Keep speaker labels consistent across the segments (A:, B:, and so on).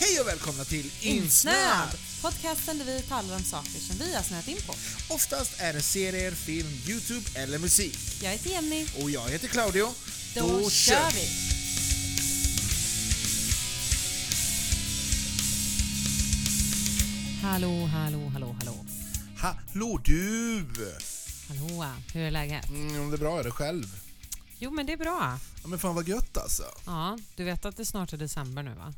A: Hej och välkomna till Insnöad!
B: Insnöad! Podcasten där vi talar om saker som vi har snöat in på.
A: Oftast är det serier, film, Youtube eller musik.
B: Jag heter Jenny.
A: Och jag heter Claudio.
B: Då, kör vi! Hallå, hallå, hallå, hallå.
A: Hallå du!
B: Hallå, hur är läget?
A: Mm, om det är bra är det själv.
B: Jo, men det är bra.
A: Ja, men fan vad gött alltså.
B: Ja, du vet att det snart är december nu va?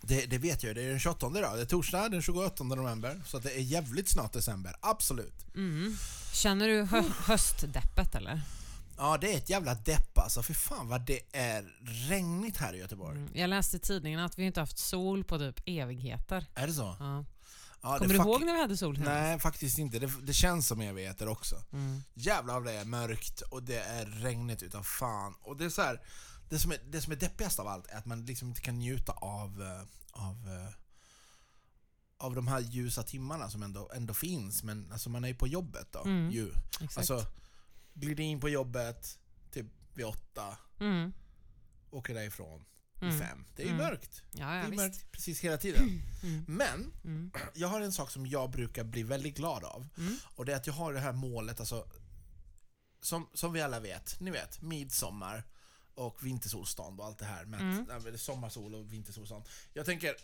A: Det, det vet jag, det är den 28 idag. Det är torsdag den 28 november. Så att det är jävligt snart december, absolut.
B: Mm. Känner du
A: Mm.
B: hö- höstdeppet eller?
A: Ja, det är ett jävla depp alltså. För fan vad det är regnigt här i Göteborg.
B: Mm. Jag läste i tidningen att vi inte haft sol på typ evigheter.
A: Är det så?
B: Ja.
A: Ja, det
B: Kommer du
A: fuck-
B: ihåg när vi hade sol hemma?
A: Nej, faktiskt inte. Det, det känns som evigheter också.
B: Mm.
A: Jävlar vad det är mörkt och det är regnigt utav fan. Och det är så här, det som är, det som är deppigast av allt är att man liksom inte kan njuta av, eh, av, eh, av de här ljusa timmarna som ändå, ändå finns. Men alltså man är ju på jobbet då.
B: Mm,
A: ju.
B: Exakt.
A: Alltså, glider in på jobbet typ vid åtta,
B: mm.
A: åker därifrån
B: Mm.
A: vid fem. Det är ju
B: Mm.
A: mörkt.
B: Ja,
A: Det
B: ja
A: är
B: visst.
A: mörkt precis hela tiden.
B: Mm.
A: Men
B: Mm.
A: jag har en sak som jag brukar bli väldigt glad av.
B: Mm.
A: Och det är att jag har det här målet, alltså som, som vi alla vet, ni vet, midsommar och vintersolstånd och allt det här med
B: Mm.
A: att, nej, men det är sommarsol och vintersolstånd. Jag tänker,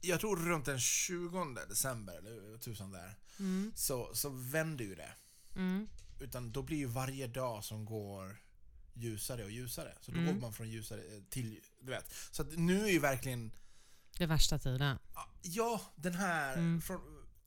A: jag tror runt den 20 december, eller tusan där,
B: Mm.
A: så, så vänder ju det.
B: Mm.
A: Utan då blir ju varje dag som går ljusare och ljusare. Så då
B: Mm.
A: går man från ljusare eh, till, du vet. Så att nu är ju verkligen
B: Det värsta tiden.
A: Ja, den här...
B: Mm.
A: Från,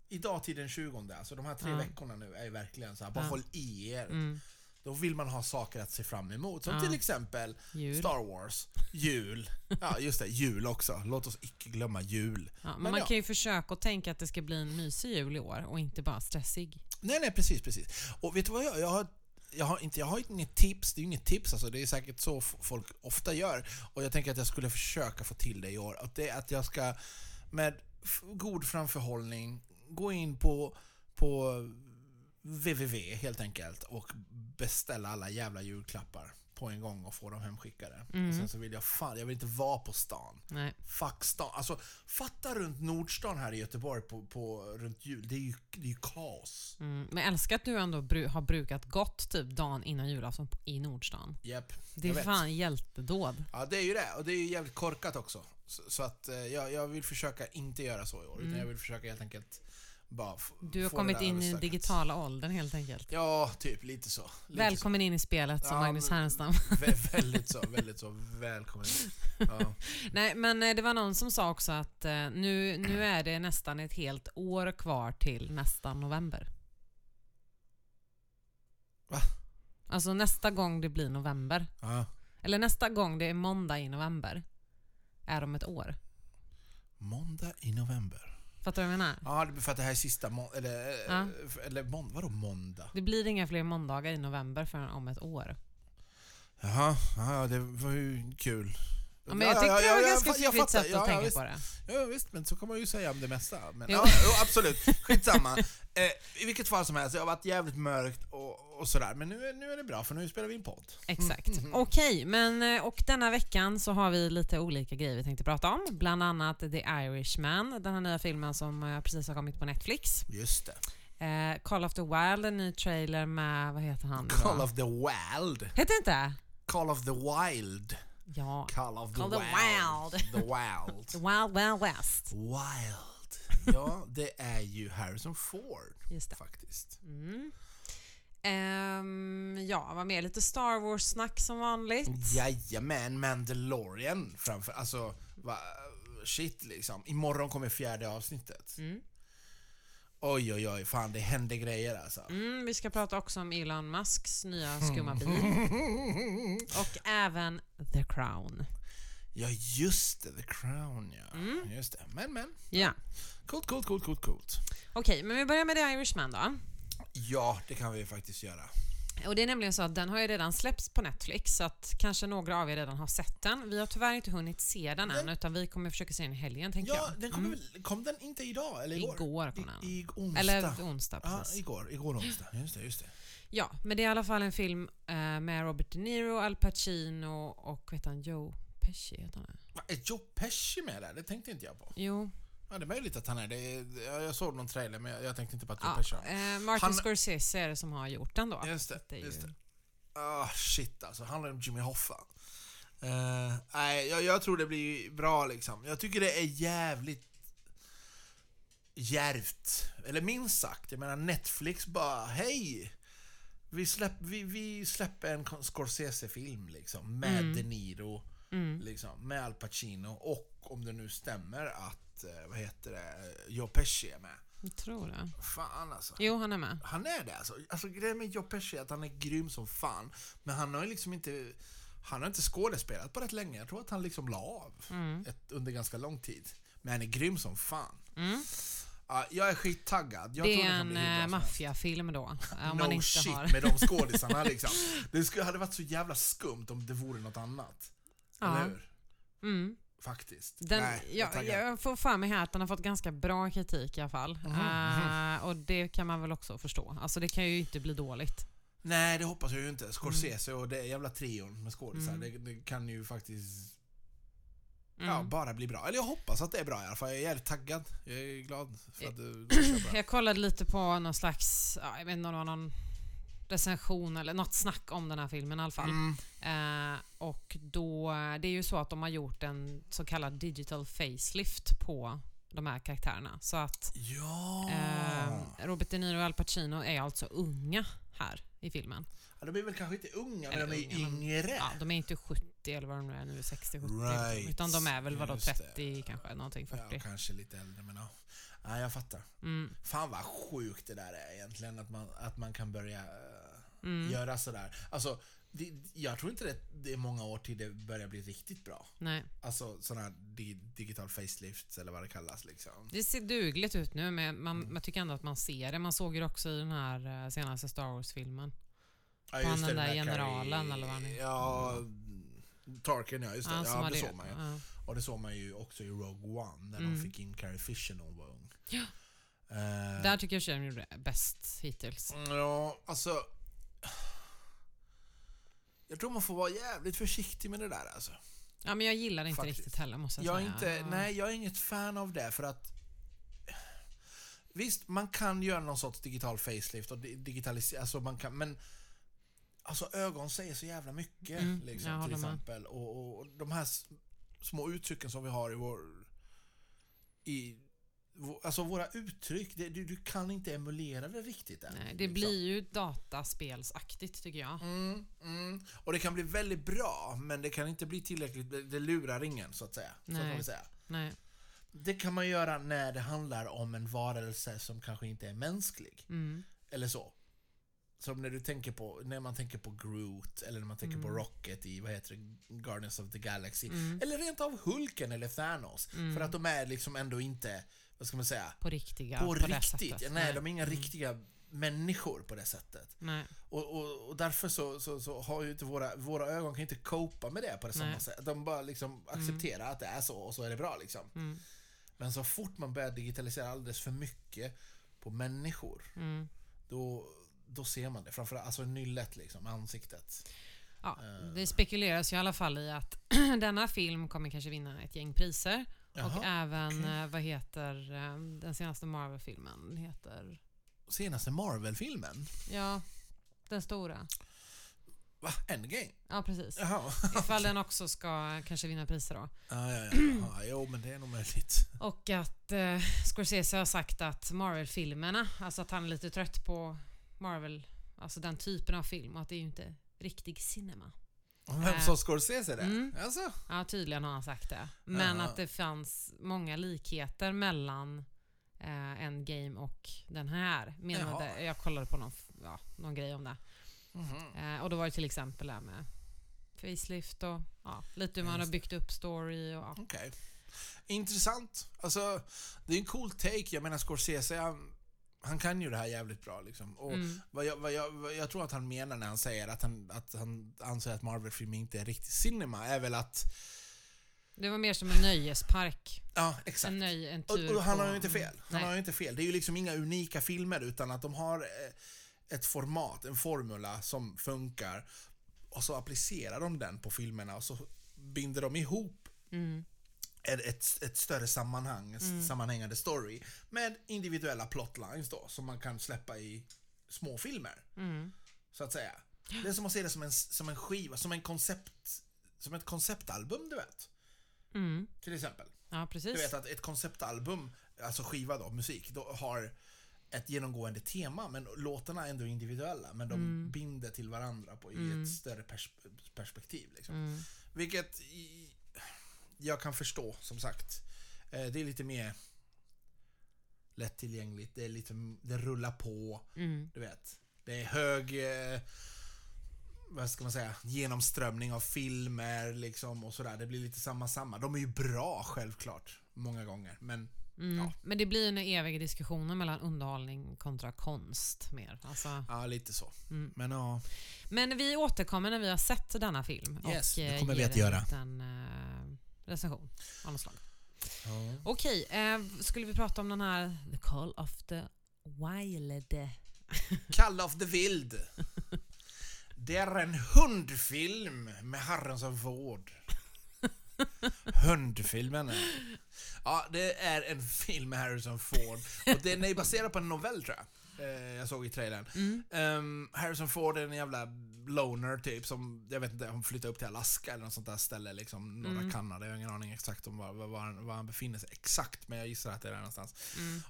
A: idag till den 20, alltså de här tre
B: Ja.
A: veckorna nu är ju verkligen så här, bara
B: Ja.
A: håll i er.
B: Mm.
A: Då vill man ha saker att se fram emot. Som
B: Ja.
A: till exempel
B: Jul.
A: Star Wars, jul. Ja, just det, jul också. Låt oss icke glömma jul.
B: Ja, men
A: Men
B: man
A: ja.
B: kan ju försöka att tänka att det ska bli en mysig jul i år och inte bara stressig.
A: Nej, nej, precis, precis. Och vet du vad jag, jag har jag har, inte, jag har inget tips, det är inget tips alltså. Det är säkert så f- folk ofta gör. Och jag tänker att jag skulle försöka få till det i år. Att det är att jag ska med f- god framförhållning gå in på, på www helt enkelt och beställa alla jävla julklappar på en gång och få dem hemskickade.
B: Mm.
A: Och sen så vill jag fan, jag vill inte vara på stan.
B: Nej.
A: Fuck stan. Alltså fatta runt Nordstan här i Göteborg på, på runt jul. Det är ju, det är ju kaos.
B: Mm. Men jag älskar att du ändå bru- har brukat gott typ dagen innan julafton på- i Nordstan.
A: Japp.
B: Det
A: jag
B: är
A: vet.
B: fan hjältedåd.
A: Ja, det är ju det. Och det är ju jävligt korkat också. Så, så att eh, jag, jag vill försöka inte göra så i år. Utan
B: Mm.
A: jag vill försöka helt enkelt bara f-
B: Du har
A: få det
B: kommit
A: där
B: in i den
A: överstökat.
B: digitala åldern helt enkelt.
A: Ja, typ lite så. Lite
B: Välkommen in i spelet som
A: Ja,
B: Magnus
A: men-
B: Härenstam.
A: Så. Vä- väldigt så, väldigt så. Välkommen. Ja.
B: Nej, men eh, det var någon som sa också att eh, nu, nu är det nästan ett helt år kvar till nästa november.
A: Va?
B: Alltså nästa gång det blir november.
A: Ja.
B: Eller nästa gång det är måndag i november är om ett år.
A: Måndag i november.
B: Fattar du vad jag menar?
A: Ja, det är för att det här är sista må- eller, eh,
B: Ja.
A: f- eller månd- vadå måndag?
B: Det blir inga fler måndagar i november förrän om ett år.
A: Jaha, ja, det var ju kul.
B: Ja, men jag tyckte det var ett ganska
A: fa- jag
B: fiffigt
A: fattar.
B: sätt
A: Ja,
B: att
A: ja,
B: tänka
A: visst.
B: på det.
A: Ja visst, men så kan man ju säga om det mesta. Men,
B: Jo.
A: ja, jo, absolut, skitsamma. Eh, I vilket fall som helst, det har varit jävligt mörkt och, och sådär. Men nu, är- nu är det bra för nu spelar vi in podd.
B: Exakt.
A: Mm,
B: Okej, men eh, och denna veckan så har vi lite olika grejer vi tänkte prata om. Bland annat The Irishman, den här nya filmen som eh, precis har kommit på Netflix.
A: Just det.
B: Eh, Call of the Wild, en ny trailer med, vad heter han? nu då?
A: Call of the wild.
B: Heter det inte?
A: Call of the wild.
B: Ja.
A: Call of the
B: Call the
A: wild.
B: wild.
A: The wild.
B: Wild Wild West.
A: wild. Ja, det är ju Harrison Ford
B: Just det.
A: faktiskt.
B: Mm. Ehm, ja, vad mer? Lite Star Wars-snack som
A: Mm.
B: vanligt.
A: Jajamän, Mandalorian framför... Alltså, va, shit liksom. Imorgon kommer fjärde avsnittet.
B: Mm.
A: Oj, oj, oj. Fan, det händer grejer alltså.
B: Mm, vi ska prata också om Elon Musks nya
A: Mm.
B: skumma bil och även The Crown.
A: Ja, just det. The Crown, ja.
B: Mm.
A: Just det. Men, men.
B: Ja.
A: Coolt, coolt, coolt, coolt, coolt.
B: Okej, men vi börjar med The Irishman då.
A: Ja, det kan vi faktiskt göra.
B: Och det är nämligen så att den har ju redan släppts på Netflix så att kanske några av er redan har sett den. Vi har tyvärr inte hunnit se den än utan vi kommer försöka se den i helgen tänker
A: Ja,
B: jag. Mm.
A: den kom, väl, kom den inte idag eller igår?
B: Igår kom den.
A: I, i onsdag.
B: Eller onsdag
A: Ja,
B: precis.
A: igår. Igår onsdag. Just det, just det.
B: Ja, men det är i alla fall en film eh, med Robert De Niro, Al Pacino och vad heter han, Joe Pesci heter han.
A: Va, Är Joe Pesci med där? Det tänkte inte jag på.
B: Jo.
A: Ja, det är möjligt att han är det. Jag jag såg någon trailer men jag, jag tänkte inte på att Joe
B: Ja,
A: Pesci var med.
B: eh, Martin
A: Han-
B: Scorsese är det som har gjort den då.
A: Just
B: Så att
A: det,
B: är
A: just
B: ju-
A: det. Ah, shit alltså. Handlar om Jimmy Hoffa. Eh, nej, jag, jag tror det blir bra liksom. Jag tycker det är jävligt djärvt. Eller minst sagt. Jag menar Netflix bara, hej! Vi, släpp, vi, vi släpper en Con- Scorsese-film liksom. Med
B: Mm.
A: De Niro. Liksom, med Al Pacino. Och om det nu stämmer att, eh, vad heter det, Joe Pesci är med.
B: Jag tror det.
A: Fan alltså.
B: Jo, han är med.
A: Han är det alltså. alltså grejen med Joe Pesci är att han är grym som fan. Men han har ju liksom inte... Han har inte skådespelat på rätt länge. Jag tror att han liksom la av
B: Mm.
A: ett, under ganska lång tid. Men han är grym som fan. Ja, jag är skittaggad. Jag
B: Mm. det
A: tror
B: är
A: kan
B: en
A: bli hur bra
B: eh,
A: som helst.
B: maffiafilm då. Om
A: No
B: man inte
A: shit
B: har...
A: med de skådisarna liksom. Det skulle, hade varit så jävla skumt om det vore något annat.
B: Ja.
A: Eller hur?
B: Mm.
A: Faktiskt.
B: Den,
A: Nej, jag är
B: jag,
A: taggad.
B: jag får för mig här att den har fått ganska bra kritik i alla fall.
A: Mhm,
B: Eh, och det kan man väl också förstå. Alltså det kan ju inte bli dåligt.
A: Nej, det hoppas jag ju inte. Scorsese
B: Mm.
A: och det jävla trion med skådisar, det, det kan ju faktiskt
B: Mm.
A: Ja, bara bli bra. Eller jag hoppas att det är bra i alla fall. Jag är jävligt taggad. Jag är glad för att
B: Eh,
A: du köper det.
B: Jag kollade lite på någon slags, ja, jag vet inte om det var någon recension eller något snack om den här filmen i alla fall.
A: Mm.
B: Eh, och då, det är ju så att de har gjort en så kallad digital facelift på de här karaktärerna. Så att
A: Ja.
B: eh, Robert De Niro och Al Pacino är alltså unga här i filmen.
A: ja! De är väl kanske inte unga, men
B: Eller
A: de är
B: unga, men-
A: yngre.
B: Ja, de är inte 70 eller vad de nu är nu, 60-70.
A: Right.
B: Utan de är väl vadå,
A: Just det.
B: 30 kanske, någonting
A: Ja,
B: 40.
A: kanske lite äldre, men ja. Nej, jag fattar.
B: Mm,
A: Fan vad sjukt det där är egentligen, att man, att man kan börja eh,
B: mm,
A: göra sådär. Alltså, det, jag tror inte det, det är många år till det börjar bli riktigt bra.
B: nej.
A: Alltså sådana här di- digital facelifts eller vad det kallas liksom.
B: Det ser dugligt ut nu, men man,
A: Mm.
B: man tycker ändå att man ser det. Man såg ju det också i den här eh, senaste Star Wars-filmen.
A: Ja,
B: Han
A: just det,
B: den där
A: Carrie-
B: generalen eller vad han är.
A: Ja, Tarkin ja, just det.
B: Han som
A: Ja,
B: hade-
A: det såg man ju.
B: ja.
A: Och det såg man ju också i Rogue One, där
B: Mm.
A: de fick in Carrie Fisher när hon var ung. Ja.
B: Där tycker jag tjejen gjorde det bäst hittills.
A: ja, alltså... Jag tror man får vara jävligt försiktig med det där alltså.
B: Ja, men jag gillar det inte
A: Faktiskt.
B: riktigt heller måste
A: Jag
B: jag,
A: är,
B: säga.
A: inte,
B: Alltså, Ja.
A: nej, jag är inget fan av det för att... Visst, man kan göra någon sorts digital facelift och di- digitalisera, alltså man kan, men... Alltså ögon säger så jävla mycket,
B: Mm, jag
A: liksom, till
B: håller med.
A: exempel. Och, och, och de här s- små uttrycken som vi har i vår... I, vå- alltså våra uttryck, det, du, du kan inte emulera det riktigt än.
B: Nej, det
A: liksom.
B: blir ju dataspelsaktigt tycker jag.
A: Mm, mm. Och det kan bli väldigt bra, men det kan inte bli tillräckligt, det, det lurar ingen så att säga. Så
B: Nej.
A: kan vi säga.
B: Nej.
A: Det kan man göra när det handlar om en varelse som kanske inte är mänsklig.
B: Mm.
A: Eller så. Som när du tänker på, när man tänker på Groot eller när man tänker
B: Mm.
A: på Rocket i, vad heter det, Guardians of the Galaxy. Eller rent av Hulken eller Thanos.
B: Mm.
A: För att de är liksom ändå inte, vad ska man säga,
B: På riktiga.
A: på,
B: det
A: riktigt.
B: sättet. Mm.
A: Nej, de är inga riktiga människor på det sättet.
B: Nej.
A: Och, och, och därför så, så, så har ju inte våra, våra ögon kan inte copa med det på det samma
B: Nej.
A: sätt. De bara liksom accepterar att det är så och så är det bra liksom.
B: Mm.
A: Men så fort man börjar digitalisera alldeles för mycket på människor,
B: Mm.
A: då, då ser man det. Framförallt alltså nyllet liksom, ansiktet.
B: Ja, det spekuleras ju i alla fall i att denna film kommer kanske vinna ett gäng priser. och
A: Jaha.
B: även, eh, vad heter eh, den senaste Marvel-filmen? Den heter...
A: Senaste Marvel-filmen?
B: Ja, den stora.
A: Va? Endgame?
B: Ja, precis.
A: Jaha.
B: Ifall den också ska kanske vinna priser då.
A: Ah, Ja, ja, ja. ja. Jo, men det är nog möjligt.
B: Och att eh, Scorsese har sagt att Marvel-filmerna, alltså att han är lite trött på Marvel, alltså den typen av film och att det är ju inte riktig cinema.
A: Vem
B: Äh.
A: som Scorsese det?
B: Mm.
A: Alltså?
B: Ja, tydligen har han sagt det. Men
A: Jaha.
B: att det fanns många likheter mellan eh, Endgame och den här. Menade,
A: Jaha.
B: jag kollade på någon, f- ja, någon grej om det.
A: Mhm.
B: Eh, och då var det till exempel det här med facelift och ja, lite hur man
A: Just
B: har byggt upp story. Och, ja.
A: Okej. Intressant. Alltså, det är en cool take. Jag menar Scorsese, han, han kan ju det här jävligt bra liksom. Och
B: Mm.
A: vad jag, vad jag, vad jag tror att han menar när han säger att han, att han anser att Marvel-filmer inte är riktigt cinema, är väl att...
B: Det var mer som en nöjespark.
A: Ja, exakt.
B: En, nöj, en tur
A: Och, och han
B: på-
A: har ju inte fel. Han
B: Nej.
A: har ju inte fel. Det är ju liksom inga unika filmer utan att de har eh, ett format, en formula som funkar och så applicerar de den på filmerna och så binder de ihop
B: Mm.
A: ett, ett, ett större sammanhang, sammanhängande story med individuella plotlines då som man kan släppa i små filmer
B: Mm.
A: så att säga. Det är som att se det som en, som en skiva, som en koncept, som ett konceptalbum du vet.
B: Mm.
A: Till exempel.
B: Ja, precis.
A: Du vet att ett konceptalbum, alltså skiva då, musik, då har ett genomgående tema men låtarna är ändå individuella men de binder till varandra på, i ett större pers- perspektiv. Liksom. Vilket i, jag kan förstå, som sagt. Eh, det är lite mer lättillgängligt, det, är lite, det rullar på,
B: Mm.
A: du vet. Det är hög, eh, vad ska man säga, genomströmning av filmer liksom och sådär. Det blir lite samma samma. De är ju bra självklart, många gånger. Men
B: Mm.
A: Ja.
B: Men det blir ju en evig diskussion mellan underhållning kontra konst mer. Alltså,
A: ja, lite så.
B: Mm.
A: Men ja,
B: men vi återkommer när vi har sett denna film
A: Yes,
B: och eh,
A: det kommer vi
B: ger
A: att göra.
B: en liten eh, recension av något slag.
A: ja.
B: Okej, eh, skulle vi prata om den här The Call of the Wild?
A: Kalla of the Wild. Det är en hundfilm med Herren som vård. Hundfilmen. är- Ja, det är en film med Harrison Ford. Och den är baserad på en novell tror jag. Eh, Jag såg i trailern. Ehm, Harrison Ford är en jävla loner typ som, jag vet inte, hon flyttar upp till Alaska eller något sånt där ställe liksom, norra Kanada. Jag har ingen aning exakt om var, var, var, han, var han befinner sig exakt, men jag gissar att det är där någonstans.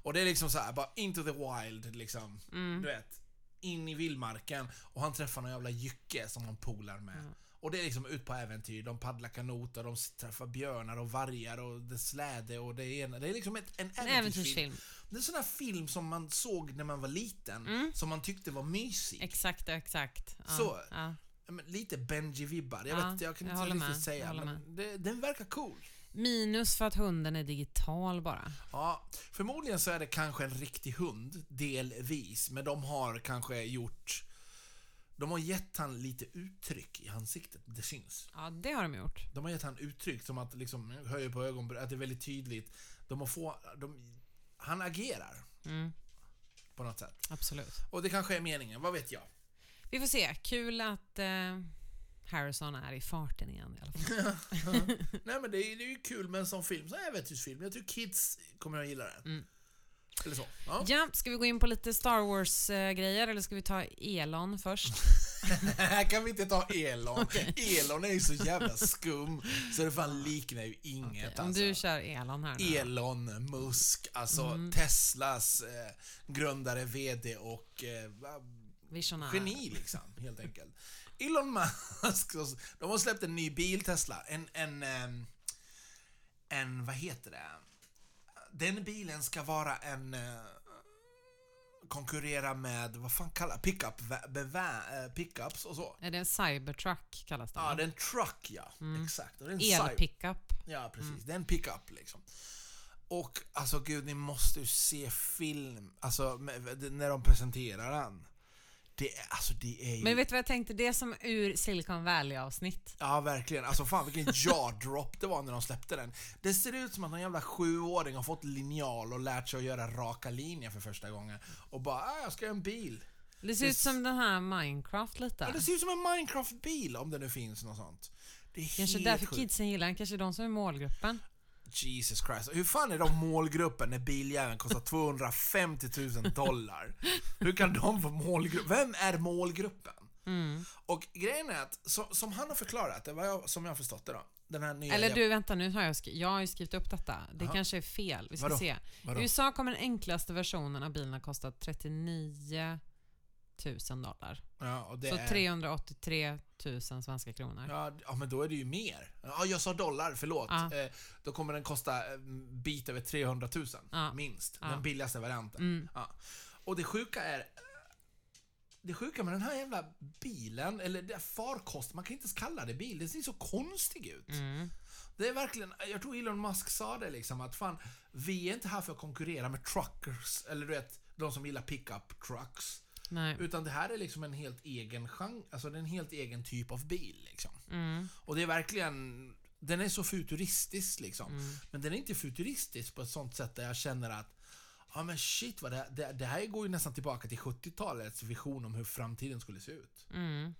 A: Och det är liksom så här, bara into the wild liksom.
B: Mm.
A: Du vet, in i vildmarken och han träffar någon jävla jycke som han polar med.
B: Mm.
A: Och det är liksom ut på äventyr, de paddlar kanot och de träffar björnar och vargar och det är släde och det ena. Det är liksom ett, en,
B: En
A: äventyrsfilm.
B: äventyrsfilm.
A: Det är en sån här film som man såg när man var liten,
B: Mm.
A: som man tyckte var mysig.
B: Exakt, exakt. Ja,
A: Så.
B: Ja.
A: Ja, men Lite Benji-vibbar. Jag,
B: Ja,
A: vet, jag kan
B: jag
A: inte
B: håller
A: riktigt
B: med. Jag
A: säga,
B: håller
A: men det, den verkar cool.
B: Minus för att hunden är digital bara.
A: Ja, förmodligen så är det kanske en riktig hund, delvis, men de har kanske gjort... De har gett han lite uttryck i ansiktet, det syns.
B: Ja, det har de gjort.
A: De har gett han uttryck som att liksom, höjer på ögonbrynen, att det är väldigt tydligt. De har få, de, han agerar.
B: Mm.
A: På något sätt.
B: Absolut.
A: Och det kanske är meningen, vad vet jag?
B: Vi får se. Kul att eh, Harrison är i farten igen i alla fall.
A: Nej men det är, det är ju kul med en sån film, sån här äventyrsfilm. Jag tror kids kommer att gilla den.
B: Mm.
A: Eller så. Ja.
B: Ja, ska vi gå in på lite Star Wars-grejer eh, eller ska vi ta Elon först?
A: kan vi inte ta Elon? Elon är ju så jävla skum så det fan liknar ju inget
B: Om
A: alltså.
B: du kör Mm. Elon här nu.
A: Elon Musk, alltså Teslas eh, grundare, VD och eh, va-
B: Visionär.
A: geni liksom, helt enkelt. Elon Musk, och s- de har släppt en ny bil, Tesla. En, en, ehm, en vad heter det? Den bilen ska vara en... eh, konkurrera med, vad fan kallar pickup, va- beva- eh, pickups och så.
B: Är det en cybertruck kallas det?
A: Ja,
B: va?
A: det är en truck ja.
B: Mm.
A: Exakt. Och det är en cyber-
B: Elpickup.
A: Ja, precis.
B: Mm.
A: Det är en pickup liksom. Och alltså gud, ni måste ju se film, alltså med- när de presenterar den. Det är, alltså det är ju...
B: Men vet du vad jag tänkte? Det är som ur Silicon Valley-avsnitt.
A: Ja, verkligen. Alltså fan vilken jaw drop det var när de släppte den. Det ser ut som att någon jävla sjuåring har fått linjal och lärt sig att göra raka linjer för första gången. Och bara, ah, jag ska göra en bil.
B: Det ser ut som den här Minecraft
A: Ja,
B: lite.
A: det ser ut som en Minecraft-bil om det nu finns något sånt. Det är
B: Kanske
A: helt
B: därför
A: sjukt.
B: kidsen gillar den. Kanske de som är målgruppen.
A: Jesus Christ. Hur fan är de målgruppen när biljäveln kostar 250 000 dollar? Hur kan de vara målgruppen? Vem är målgruppen?
B: Mm.
A: Och grejen är att, så, som han har förklarat det, vad jag, som jag har förstått det då. Den här nya
B: Eller
A: jäv-
B: du, vänta nu har jag, skri- jag har ju skrivit upp detta. Det kanske är fel. Vi ska
A: Vadå?
B: se.
A: Vadå?
B: I USA kommer den enklaste versionen av bilen att kosta 39 000 dollar.
A: Ja, och det
B: Så
A: är,
B: 383 000 svenska kronor.
A: Ja, d- ja, men då är det ju mer. Ja, jag sa dollar, förlåt.
B: Ja.
A: Eh, då kommer den kosta en bit över 300 000,
B: Ja.
A: minst.
B: Ja.
A: Den billigaste varianten.
B: Mm.
A: Ja. Och det sjuka är... Det sjuka med den här jävla bilen, eller det här farkost, man kan inte ens kalla det bil, det ser så konstig ut.
B: Mm.
A: Det är verkligen, jag tror Elon Musk sa det liksom att fan, vi är inte här för att konkurrera med truckers, eller du vet, de som gillar pickup trucks.
B: Nej.
A: Utan det här är liksom en helt egen genre, alltså det är en helt egen typ av bil liksom.
B: Mm.
A: Och det är verkligen, den är så futuristisk liksom.
B: Mm.
A: Men den är inte futuristisk på ett sånt sätt där jag känner att Ja men shit vad det, det, det här går ju nästan tillbaka till 70-talets vision om hur framtiden skulle se ut.
B: Mm.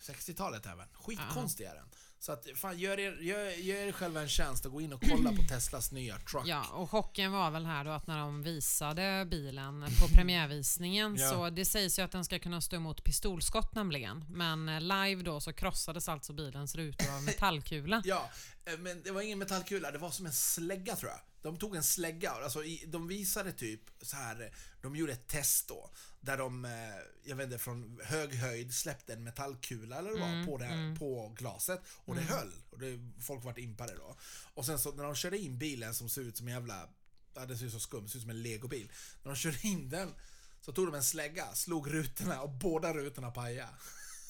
A: 60-talet även. Skitkonstig är den. Så att, fan, gör er, gör, gör er själva en tjänst och gå in och kolla på Teslas nya truck.
B: Ja, och chocken var väl här då att när de visade bilen på premiärvisningen
A: Ja.
B: så det sägs ju att den ska kunna stå emot pistolskott nämligen. Men eh, live då så krossades alltså bilens rutor av metallkula.
A: Ja, eh, men det var ingen metallkula, det var som en slägga tror jag. De tog en slägga, alltså i, de visade typ så här, eh, de gjorde ett test då, där de, eh, jag vet inte, från hög höjd släppte en metallkula eller vad det var, på, det här, på glaset och det höll. Och det, folk vart impade då. Och sen så när de körde in bilen som ser ut som en jävla, ja den ser ut så skum, ser ut som en legobil. När de körde in den så tog de en slägga, slog rutorna och båda rutorna pajade.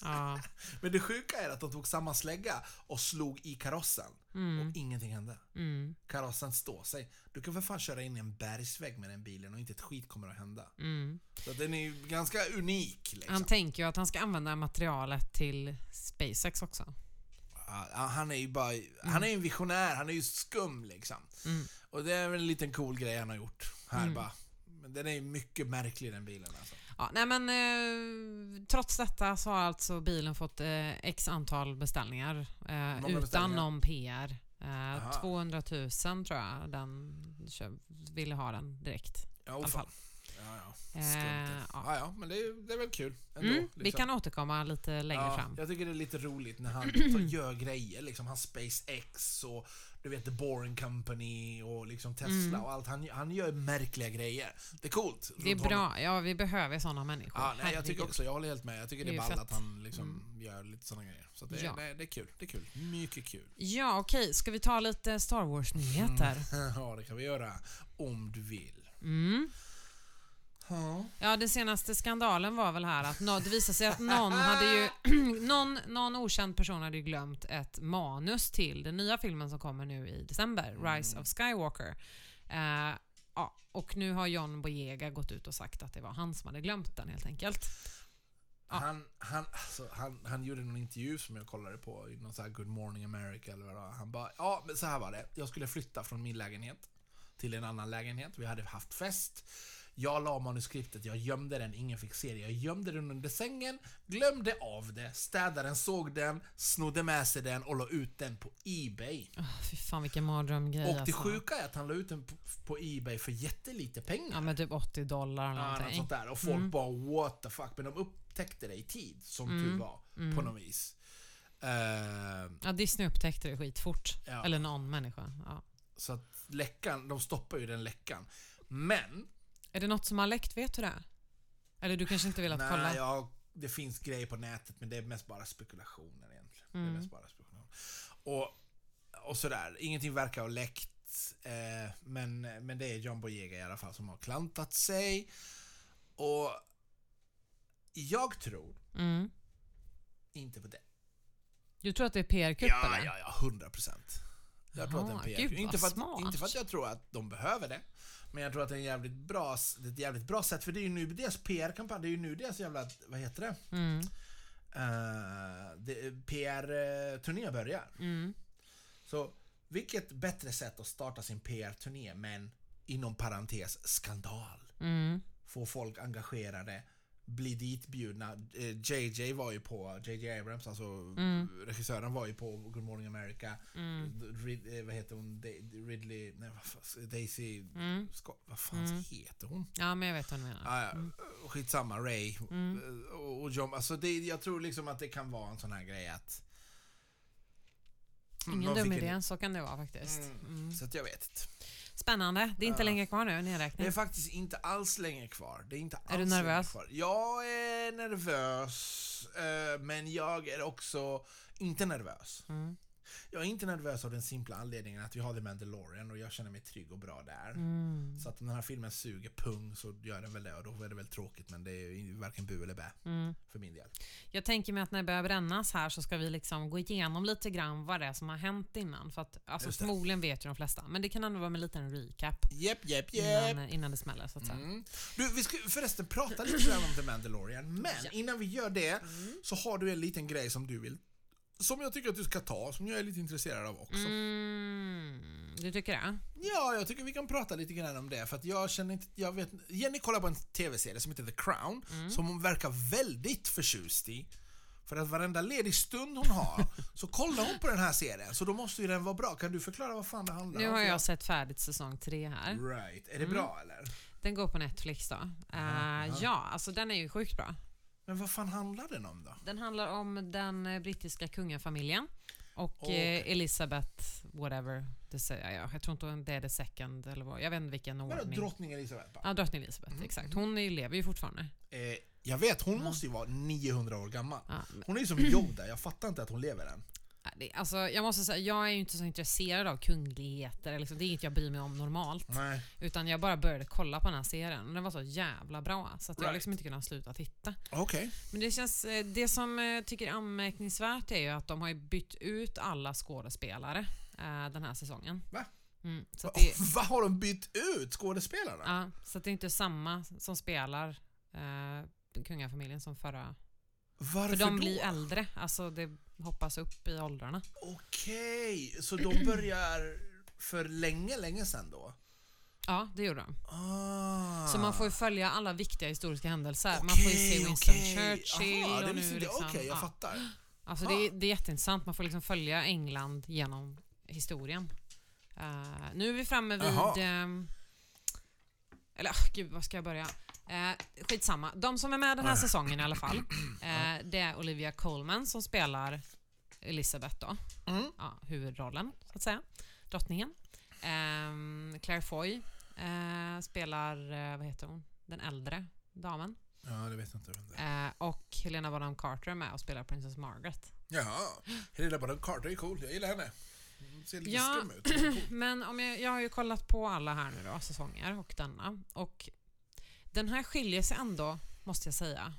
B: Ja.
A: Men det sjuka är att de tog samma slägga och slog i karossen. Och ingenting hände.
B: Mm,
A: Karossen står sig. Du kan för fan köra in i en bergsvägg med den bilen och inte ett skit kommer att hända.
B: mm.
A: Så att den är ju ganska unik liksom.
B: Han tänker ju att han ska använda materialet till SpaceX också.
A: Ja, Han är ju bara, han är ju en visionär, han är ju skum liksom.
B: Mm.
A: Och det är väl en liten cool grej han har gjort. Här bara. Men den är ju mycket märklig den bilen alltså.
B: Ja, nej men, eh, trots detta så har alltså bilen fått eh, x antal beställningar eh, utan
A: beställningar?
B: någon PR. Eh,
A: Aha.
B: 200 000 tror jag den kö- ville ha den direkt.
A: Ja,
B: I alla
A: oh, fan.
B: fall.
A: Ja, ja.
B: Alltså. Eh,
A: Strunt.
B: ja.
A: ja, ja, men det är, det är väl kul ändå.
B: Mm,
A: liksom.
B: Vi kan återkomma lite längre
A: Ja,
B: fram.
A: Jag tycker det är lite roligt när han tar, gör grejer, liksom han SpaceX och du vet The Boring Company och liksom Tesla och allt. Han, han gör märkliga grejer. Det är coolt.
B: Mm. Det är
A: runt honom.
B: bra. Ja, vi behöver sådana människor.
A: Ja, nej, jag
B: Herregud.
A: tycker också, jag håller helt med. Jag tycker det är
B: Det är
A: ball
B: fett. Mm.
A: att han liksom gör lite sådana grejer. Så att det,
B: Ja.
A: nej, det är kul. Det är kul. Mycket kul.
B: Ja, okej. Ska vi ta lite Star Wars-nyheter?
A: Mm. ja, det kan vi göra. Om du vill.
B: Mm.
A: Ja.
B: Ja, den senaste skandalen var väl här att nå- det visade sig att någon hade ju... någon, någon okänd person hade ju glömt ett manus till den nya filmen som kommer nu i december,
A: Mm.
B: Rise of Skywalker. Eh, ja, och nu har John Boyega gått ut och sagt att det var han som hade glömt den helt enkelt. Ja.
A: Han, han, alltså, han, han gjorde någon intervju som jag kollade på i någon så här Good Morning America eller vad det var. Han bara, ja men så här var det. Jag skulle flytta från min lägenhet till en annan lägenhet. Vi hade haft fest. Jag la manuskriptet, jag gömde den, ingen fick se det. Jag gömde den under sängen, glömde av det, städaren såg den, snodde med sig den och la ut den på Ebay.
B: Oh, fy fan vilken mardrömgrej
A: Ah,
B: alltså.
A: Och det sjuka är alltså- att han la ut den på, på Ebay för jättelite pengar.
B: Ja men typ 80 dollar eller
A: Ja, Mm. något
B: någonting.
A: sånt där. Och folk bara what the fuck. Men de upptäckte det i tid, som tur var. På något vis. Eh,
B: Mm. Ja, Disney upptäckte det skitfort.
A: Ja.
B: Eller någon människa. Ja.
A: så att läckan, de stoppar ju den läckan. Men,
B: Är det något som har läckt? Vet du det? Eller du kanske inte vill att kolla?
A: nej, jag, det finns grejer på nätet men det är mest bara spekulationer egentligen.
B: Mm.
A: Det är mest bara spekulationer. Och, och sådär, ingenting verkar ha läckt. Eh, men, men det är John Boyega i alla fall som har klantat sig. Och jag tror
B: Mm.
A: inte på det.
B: Du tror att det är PR-kupp
A: Ja,
B: eller?
A: ja, ja, 100 procent. Jag tror att den
B: Jaha,
A: PR.
B: gud, vad
A: inte, för att,
B: smart.
A: inte för att jag tror att de behöver det. Men jag tror att det är, en jävligt bra, s- det är ett jävligt bra sätt. För det är ju nu deras PR-kampanj. Det är ju nu deras jävla, vad heter det? Eh,
B: Mm.
A: PR-turné börjar.
B: Mm.
A: Så vilket bättre sätt att starta sin PR-turné men inom parentes skandal.
B: Mm.
A: Få folk engagerade, bli ditbjudna. Eh, JJ var ju på, JJ Abrams, alltså
B: Mm.
A: regissören var ju på Good Morning America. Rid, eh, vad heter hon? Da- Ridley, nej vad fan, Daisy, Scott, vad fan heter hon?
B: Mm. Ja, Mm. men jag vet vad du menar. Mm.
A: Ah, ja. Skitsamma, Ray eh, och, och John. Alltså det, jag tror liksom att det kan vara en sån här grej att... Mm,
B: Ingen
A: de
B: dum
A: fick en- Mm.
B: idé, så kan det vara faktiskt. Mm.
A: Så att jag vet inte.
B: Spännande. Det är inte länge kvar nu,
A: Det är
B: nedräkning.
A: faktiskt inte alls länge kvar. Det är inte alls
B: du
A: länge
B: nervös?
A: Kvar. Jag är nervös, eh, men jag är också inte nervös.
B: Mm.
A: Jag är inte nervös av den simpla anledningen att vi har The Mandalorian och jag känner mig trygg och bra där.
B: Mm.
A: Så att om den här filmen suger pung så gör den väl det och då är det väl tråkigt men det är ju varken bu eller bä
B: Mm.
A: för min del.
B: Jag tänker mig att när det börjar brännas här så ska vi liksom gå igenom lite grann vad det är som har hänt innan. För att, alltså,
A: Just det.
B: förmodligen vet ju de flesta, men det kan ändå vara med en liten recap
A: Jep, jep, jep.
B: innan, innan det smäller. Så att säga.
A: Mm. Du, vi ska förresten prata lite grann om The Mandalorian, men
B: Ja.
A: innan vi gör det så har du en liten grej som du vill som jag tycker att du ska ta, som jag är lite intresserad av också.
B: Mm. Du tycker det?
A: Ja, jag tycker vi kan prata lite grann om det för att jag känner inte, jag vet
B: Mm.
A: Jenny kollar på en TV-serie som heter The Crown som hon verkar väldigt förtjust i. För att varenda ledig stund hon har så kollar hon på den här serien. Så då måste ju den vara bra. Kan du förklara vad fan det handlar
B: Nu
A: om?
B: har jag Mm. sett färdigt säsong tre här.
A: Right. Är det bra eller?
B: Den går på Netflix då. Eh, ja, alltså den är ju sjukt bra.
A: Men vad fan handlar den om då?
B: Den handlar om den eh, brittiska kungafamiljen och
A: Okej.
B: eh, Elizabeth, whatever. Det säger jag. Jag tror inte det är the second eller vad. Jag vet inte vilken
A: Vadå
B: ordning.
A: drottning Elisabeth? bara?
B: ja, drottning Elizabeth,
A: Mm.
B: exakt. Hon är ju- lever ju fortfarande.
A: Eh, jag vet, hon måste ju vara 900 år gammal.
B: Ja, men,
A: Hon är ju som Yoda, jag fattar inte att hon lever än.
B: äh, det, alltså, jag måste säga, jag är ju inte så intresserad av kungligheter. Liksom. Det är inget jag bryr mig om normalt.
A: Nej.
B: Utan jag bara började kolla på den här serien och den var så jävla bra så att jag
A: Right.
B: liksom inte kunde sluta titta.
A: Okej.
B: Men det känns, eh, det som jag tycker är anmärkningsvärt är ju att de har ju bytt ut alla skådespelare eh, den här säsongen.
A: Va?
B: Mm, så att
A: Va-
B: det,
A: Vad har de bytt ut skådespelarna?
B: ja, så att det är inte samma som spelar eh, kungafamiljen som förra.
A: Varför
B: För de
A: då?
B: blir äldre, alltså det hoppas upp i åldrarna.
A: Okej, så de börjar för länge, länge sedan då?
B: Ja, det gjorde de.
A: Ah.
B: Så man får ju följa alla viktiga historiska händelser. man får ju se
A: Okej,
B: Winston
A: okej.
B: Churchill
A: Aha, det
B: och nu
A: visste inte jag.
B: liksom,
A: Okej, jag
B: ja.
A: fattar.
B: Alltså det, är- det är jätteintressant, man får liksom följa England genom historien. Eh, nu är vi framme vid...
A: Jaha.
B: ehm, eller ah, gud, var ska jag börja? Uh, skitsamma. De som är med
A: Ah.
B: den här säsongen i alla fall, eh, det är Olivia Colman som spelar Elizabeth då.
A: Mm.
B: Ja, huvudrollen, så att säga. Drottningen. Ehm, Claire Foy eh, spelar, eh, vad heter hon, den äldre damen.
A: Ja, det vet jag inte vem det är.
B: Eh, och Helena Bonham Carter är med och spelar Princess Margaret.
A: Jaha. Helena Bonham Carter är cool, jag gillar henne. Hon ser lite
B: Ja.
A: skum ut. men Cool.
B: Men om jag, jag har ju kollat på alla här nu då, säsonger och denna. Och den här skiljer sig ändå, måste jag säga.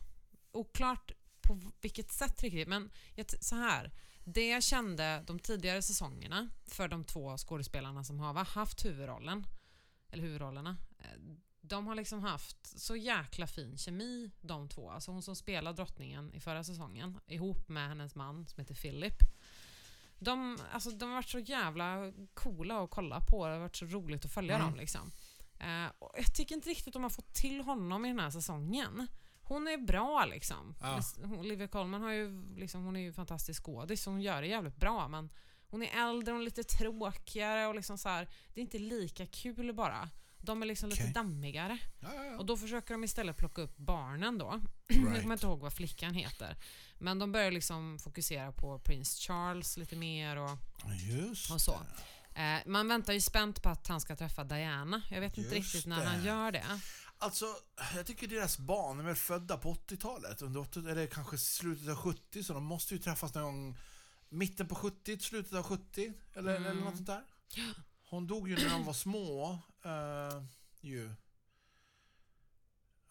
B: Oklart på v- vilket sätt riktigt, men jag t- så här. Det jag kände de tidigare säsongerna för de två skådespelarna som har va, haft huvudrollen, eller huvudrollerna, eh, de har liksom haft så jäkla fin kemi de två. Alltså hon som spelar drottningen i förra säsongen ihop med hennes man som heter Philip. De, alltså, de har varit så jävla coola att kolla på. Det har varit så roligt att följa
A: Mm.
B: dem. Liksom. Eh, och jag tycker inte riktigt de har fått till honom i den här säsongen. Hon är bra liksom.
A: Ja.
B: Hon- Olivia Colman har ju, liksom, hon är ju en fantastisk skådis och hon gör det jävligt bra. Men hon är äldre, hon är lite tråkigare och liksom så här, det är inte lika kul bara. De är liksom
A: Okej.
B: lite dammigare.
A: Ja, ja,
B: Och
A: ja.
B: då försöker de istället plocka upp barnen då. Jag kommer
A: Right.
B: inte ihåg vad flickan heter. Men de börjar liksom fokusera på prins Charles lite mer och,
A: Just
B: och så.
A: det.
B: Eh, man väntar ju spänt på att han ska träffa Diana. Jag vet inte
A: Just
B: riktigt när
A: det.
B: han gör det.
A: Alltså, jag tycker deras barn är väl födda på 80-talet, under 80 eller kanske slutet av 70, så de måste ju träffas någon gång mitten på 70, slutet av 70, eller,
B: Mm.
A: eller något sånt där. Hon dog ju när de var små, eh, ju.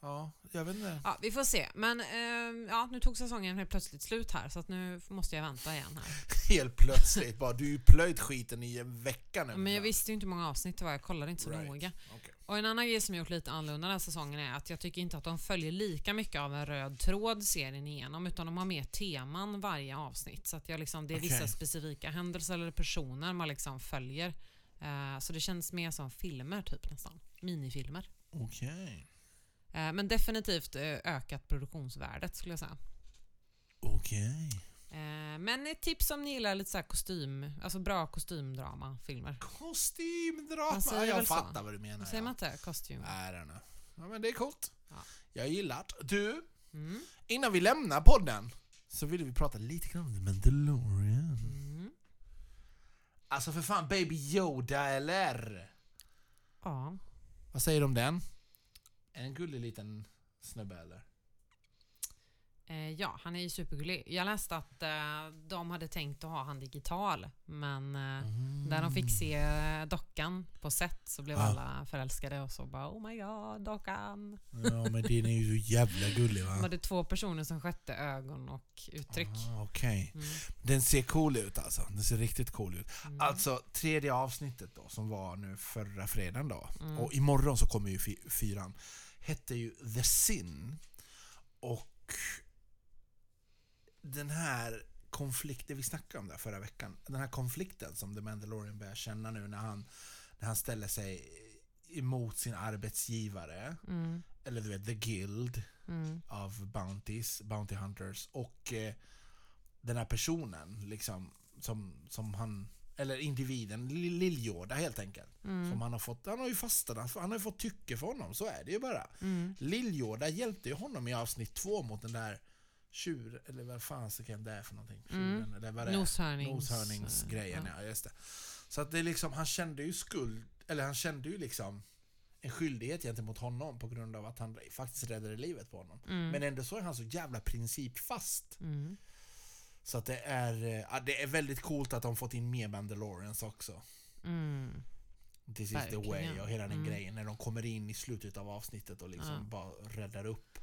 A: Ja, jag vet inte.
B: Ja, vi får se. Men eh, ja, nu tog säsongen helt plötsligt slut här så att nu f- måste jag vänta igen här.
A: Helt plötsligt bara, du har ju plöjt skiten i en vecka nu.
B: Men jag visste ju inte hur många avsnitt det var. Jag kollade inte så
A: Right.
B: noga.
A: Okej.
B: Och en annan grej som jag gjort lite annorlunda den här säsongen är att jag tycker inte att de följer lika mycket av en röd tråd serien igenom utan de har mer teman varje avsnitt. Så att jag liksom, det är vissa
A: Okej.
B: specifika händelser eller personer man liksom följer. Eh, så det känns mer som filmer typ nästan. Minifilmer.
A: Okej.
B: Eh, men definitivt eh, ökat produktionsvärdet skulle jag säga.
A: Okej.
B: Eh, men ett tips om ni gillar lite så här kostym, alltså bra kostymdramafilmer.
A: Kostymdrama!
B: Man säger Alltså, väl
A: Jag
B: så.
A: fattar vad du menar.
B: Säger
A: ja.
B: man inte kostym?
A: I don't know. Ja, men det är coolt.
B: Ja.
A: Jag gillar det. Du,
B: Mm.
A: innan vi lämnar podden så ville vi prata lite grann om The Mandalorian.
B: Mm.
A: Alltså för fan, Baby Yoda eller?
B: Ja.
A: Vad säger du om den? En gullig liten snubbe eller?
B: Eh, ja, han är ju supergullig. Jag läste att eh, de hade tänkt att ha han digital, men eh, när de fick se eh, dockan på set så blev
A: Ah.
B: alla förälskade och så bara oh my god, dockan.
A: Ja men den är ju så jävla gullig
B: De
A: va?
B: hade två personer som skötte ögon och uttryck.
A: Ah, Okej.
B: Mm.
A: Den ser cool ut alltså. Den ser riktigt cool ut.
B: Mm.
A: Alltså tredje avsnittet då som var nu förra fredagen då.
B: Mm.
A: Och imorgon så kommer ju fy- fyran. Hette ju The Sin. Och den här konflikten, vi snackade om det här förra veckan. Den här konflikten som The Mandalorian börjar känna nu när han, när han ställer sig emot sin arbetsgivare.
B: Mm.
A: Eller du vet, The Guild
B: Mm.
A: av Bounties, Bounty Hunters. Och eh, den här personen, liksom, som, som han, eller individen, Lill-Jorda helt enkelt.
B: Mm.
A: Som han har fått, han har ju fastnat, han har ju fått tycke för honom, så är det ju bara. Mm. Lill-Jorda hjälpte ju honom i avsnitt två mot den där tjur, eller vad fan det är för någonting. Tjuren, eller vad det är.
B: Noshörnings-
A: Noshörningsgrejen, ja. just det. Så att det är liksom, han kände ju skuld, eller han kände ju liksom en skyldighet gentemot honom på grund av att han faktiskt räddade livet på honom. Men ändå så är han så jävla principfast.
B: Mm.
A: Så att det är, eh, ja, det är väldigt coolt att de fått in mer Mandalorians också.
B: Mm.
A: This is the
B: Verkligen.
A: way och hela den
B: Mm.
A: grejen när de kommer in i slutet av avsnittet och liksom
B: Ja.
A: bara räddar upp.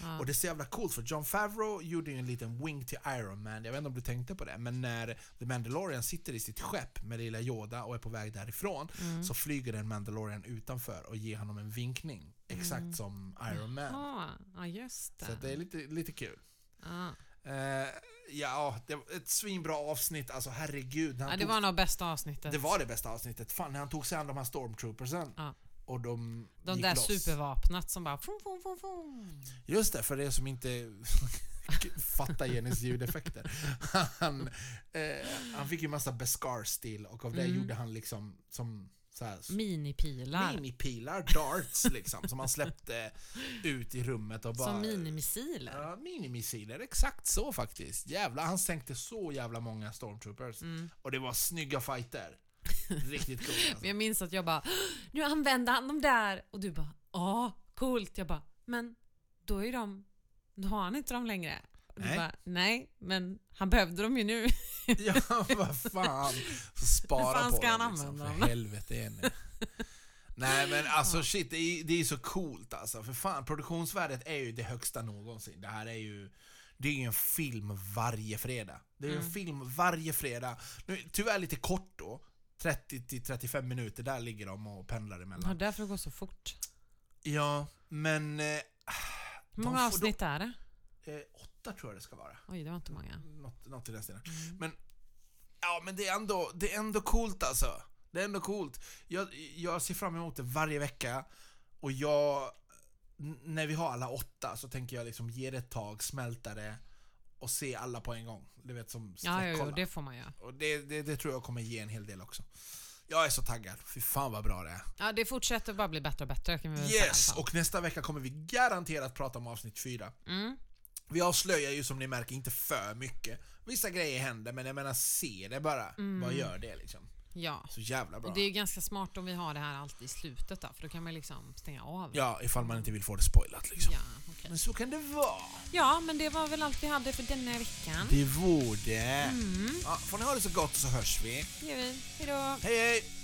B: Ja.
A: Och det är så jävla coolt för John Favreau gjorde ju en liten wink till Iron Man, jag vet inte om du tänkte på det, men när The Mandalorian sitter i sitt skepp med lilla Yoda och är på väg därifrån
B: Mm.
A: så flyger den Mandalorian utanför och ger honom en vinkning. Exakt
B: Mm.
A: som Iron Man.
B: Ja, ja, just det.
A: Så att det är lite, lite kul.
B: ja.
A: Eh, ja, det var ett svinbra avsnitt. Alltså herregud. när han
B: Ja, det
A: tog-
B: var nog bästa avsnittet.
A: det var det bästa avsnittet. Fan, när han tog sig an de här stormtroopersen.
B: Ja.
A: Och de
B: De
A: gick
B: där
A: loss.
B: supervapnat som bara... Fum, fum, fum, fum.
A: Just det, för er som inte fattar Jennys ljudeffekter. Han, eh, han fick ju massa Beskar stil och av det
B: Mm.
A: gjorde han liksom som så här,
B: Minipilar.
A: minipilar, darts liksom, som han släppte ut i rummet och bara...
B: Som minimissiler.
A: Ja, minimissiler. Exakt så faktiskt. Jävlar, han sänkte så jävla många
B: Mm.
A: stormtroopers. Och det var snygga fighter. Riktigt coolt alltså.
B: Men jag minns att jag bara Nu använder han dem där! Och du bara Ja, coolt! Jag bara Men då är de... Då har han inte dem längre. Och du
A: Nej.
B: Bara, Nej, men han behövde dem ju nu.
A: Ja, vad fan. Så Spara
B: Vad fan
A: på
B: ska
A: dem,
B: han
A: liksom.
B: använda
A: För
B: dem?
A: helvete Jenny. Nej men alltså shit, det är, det är så coolt alltså. För fan, produktionsvärdet är ju det högsta någonsin. Det här är ju... Det är ju en film varje fredag. Det är ju
B: Mm.
A: en film varje fredag. Nu, tyvärr lite kort då. 30 till 35 minuter, där ligger de och pendlar emellan.
B: Ja, därför det går så fort.
A: Ja, men... Eh,
B: Hur
A: De
B: många
A: får-
B: avsnitt är det?
A: eh, åtta tror jag det ska vara.
B: Oj, det var inte många.
A: Något, något i den stilen.
B: Mm.
A: Men... Ja, men det är ändå, det är ändå coolt alltså. Det är ändå coolt. Jag, jag ser fram emot det varje vecka. Och jag... n- När vi har alla åtta så tänker jag liksom ge det ett tag, smälta det och se alla på en gång. Du vet som
B: Ja, jo, jo,
A: sträckkolla.
B: det får man göra.
A: Och det, det, det tror jag kommer ge en hel del också. Jag är så taggad. Fy fan vad bra det är.
B: Ja, det fortsätter bara bli bättre och bättre kan vi väl säga. i alla
A: Yes!
B: fall.
A: Och nästa vecka kommer vi garanterat prata om avsnitt fyra.
B: Mm.
A: Vi avslöjar ju som ni märker inte för mycket. Vissa grejer händer men jag menar se det bara. Bara gör det liksom.
B: Ja.
A: Så jävla bra.
B: Och Mm. det är ju ganska smart om vi har det här alltid i slutet då, för då kan man liksom stänga av.
A: Ja, ifall man inte vill få det spoilat liksom.
B: Ja, okej.
A: Men så kan det vara.
B: ja, men det var väl allt vi hade för denna veckan. Mm.
A: Det vore. Ja, får ni ha det så gott så hörs vi.
B: Det gör vi. Hejdå!
A: Hej hej!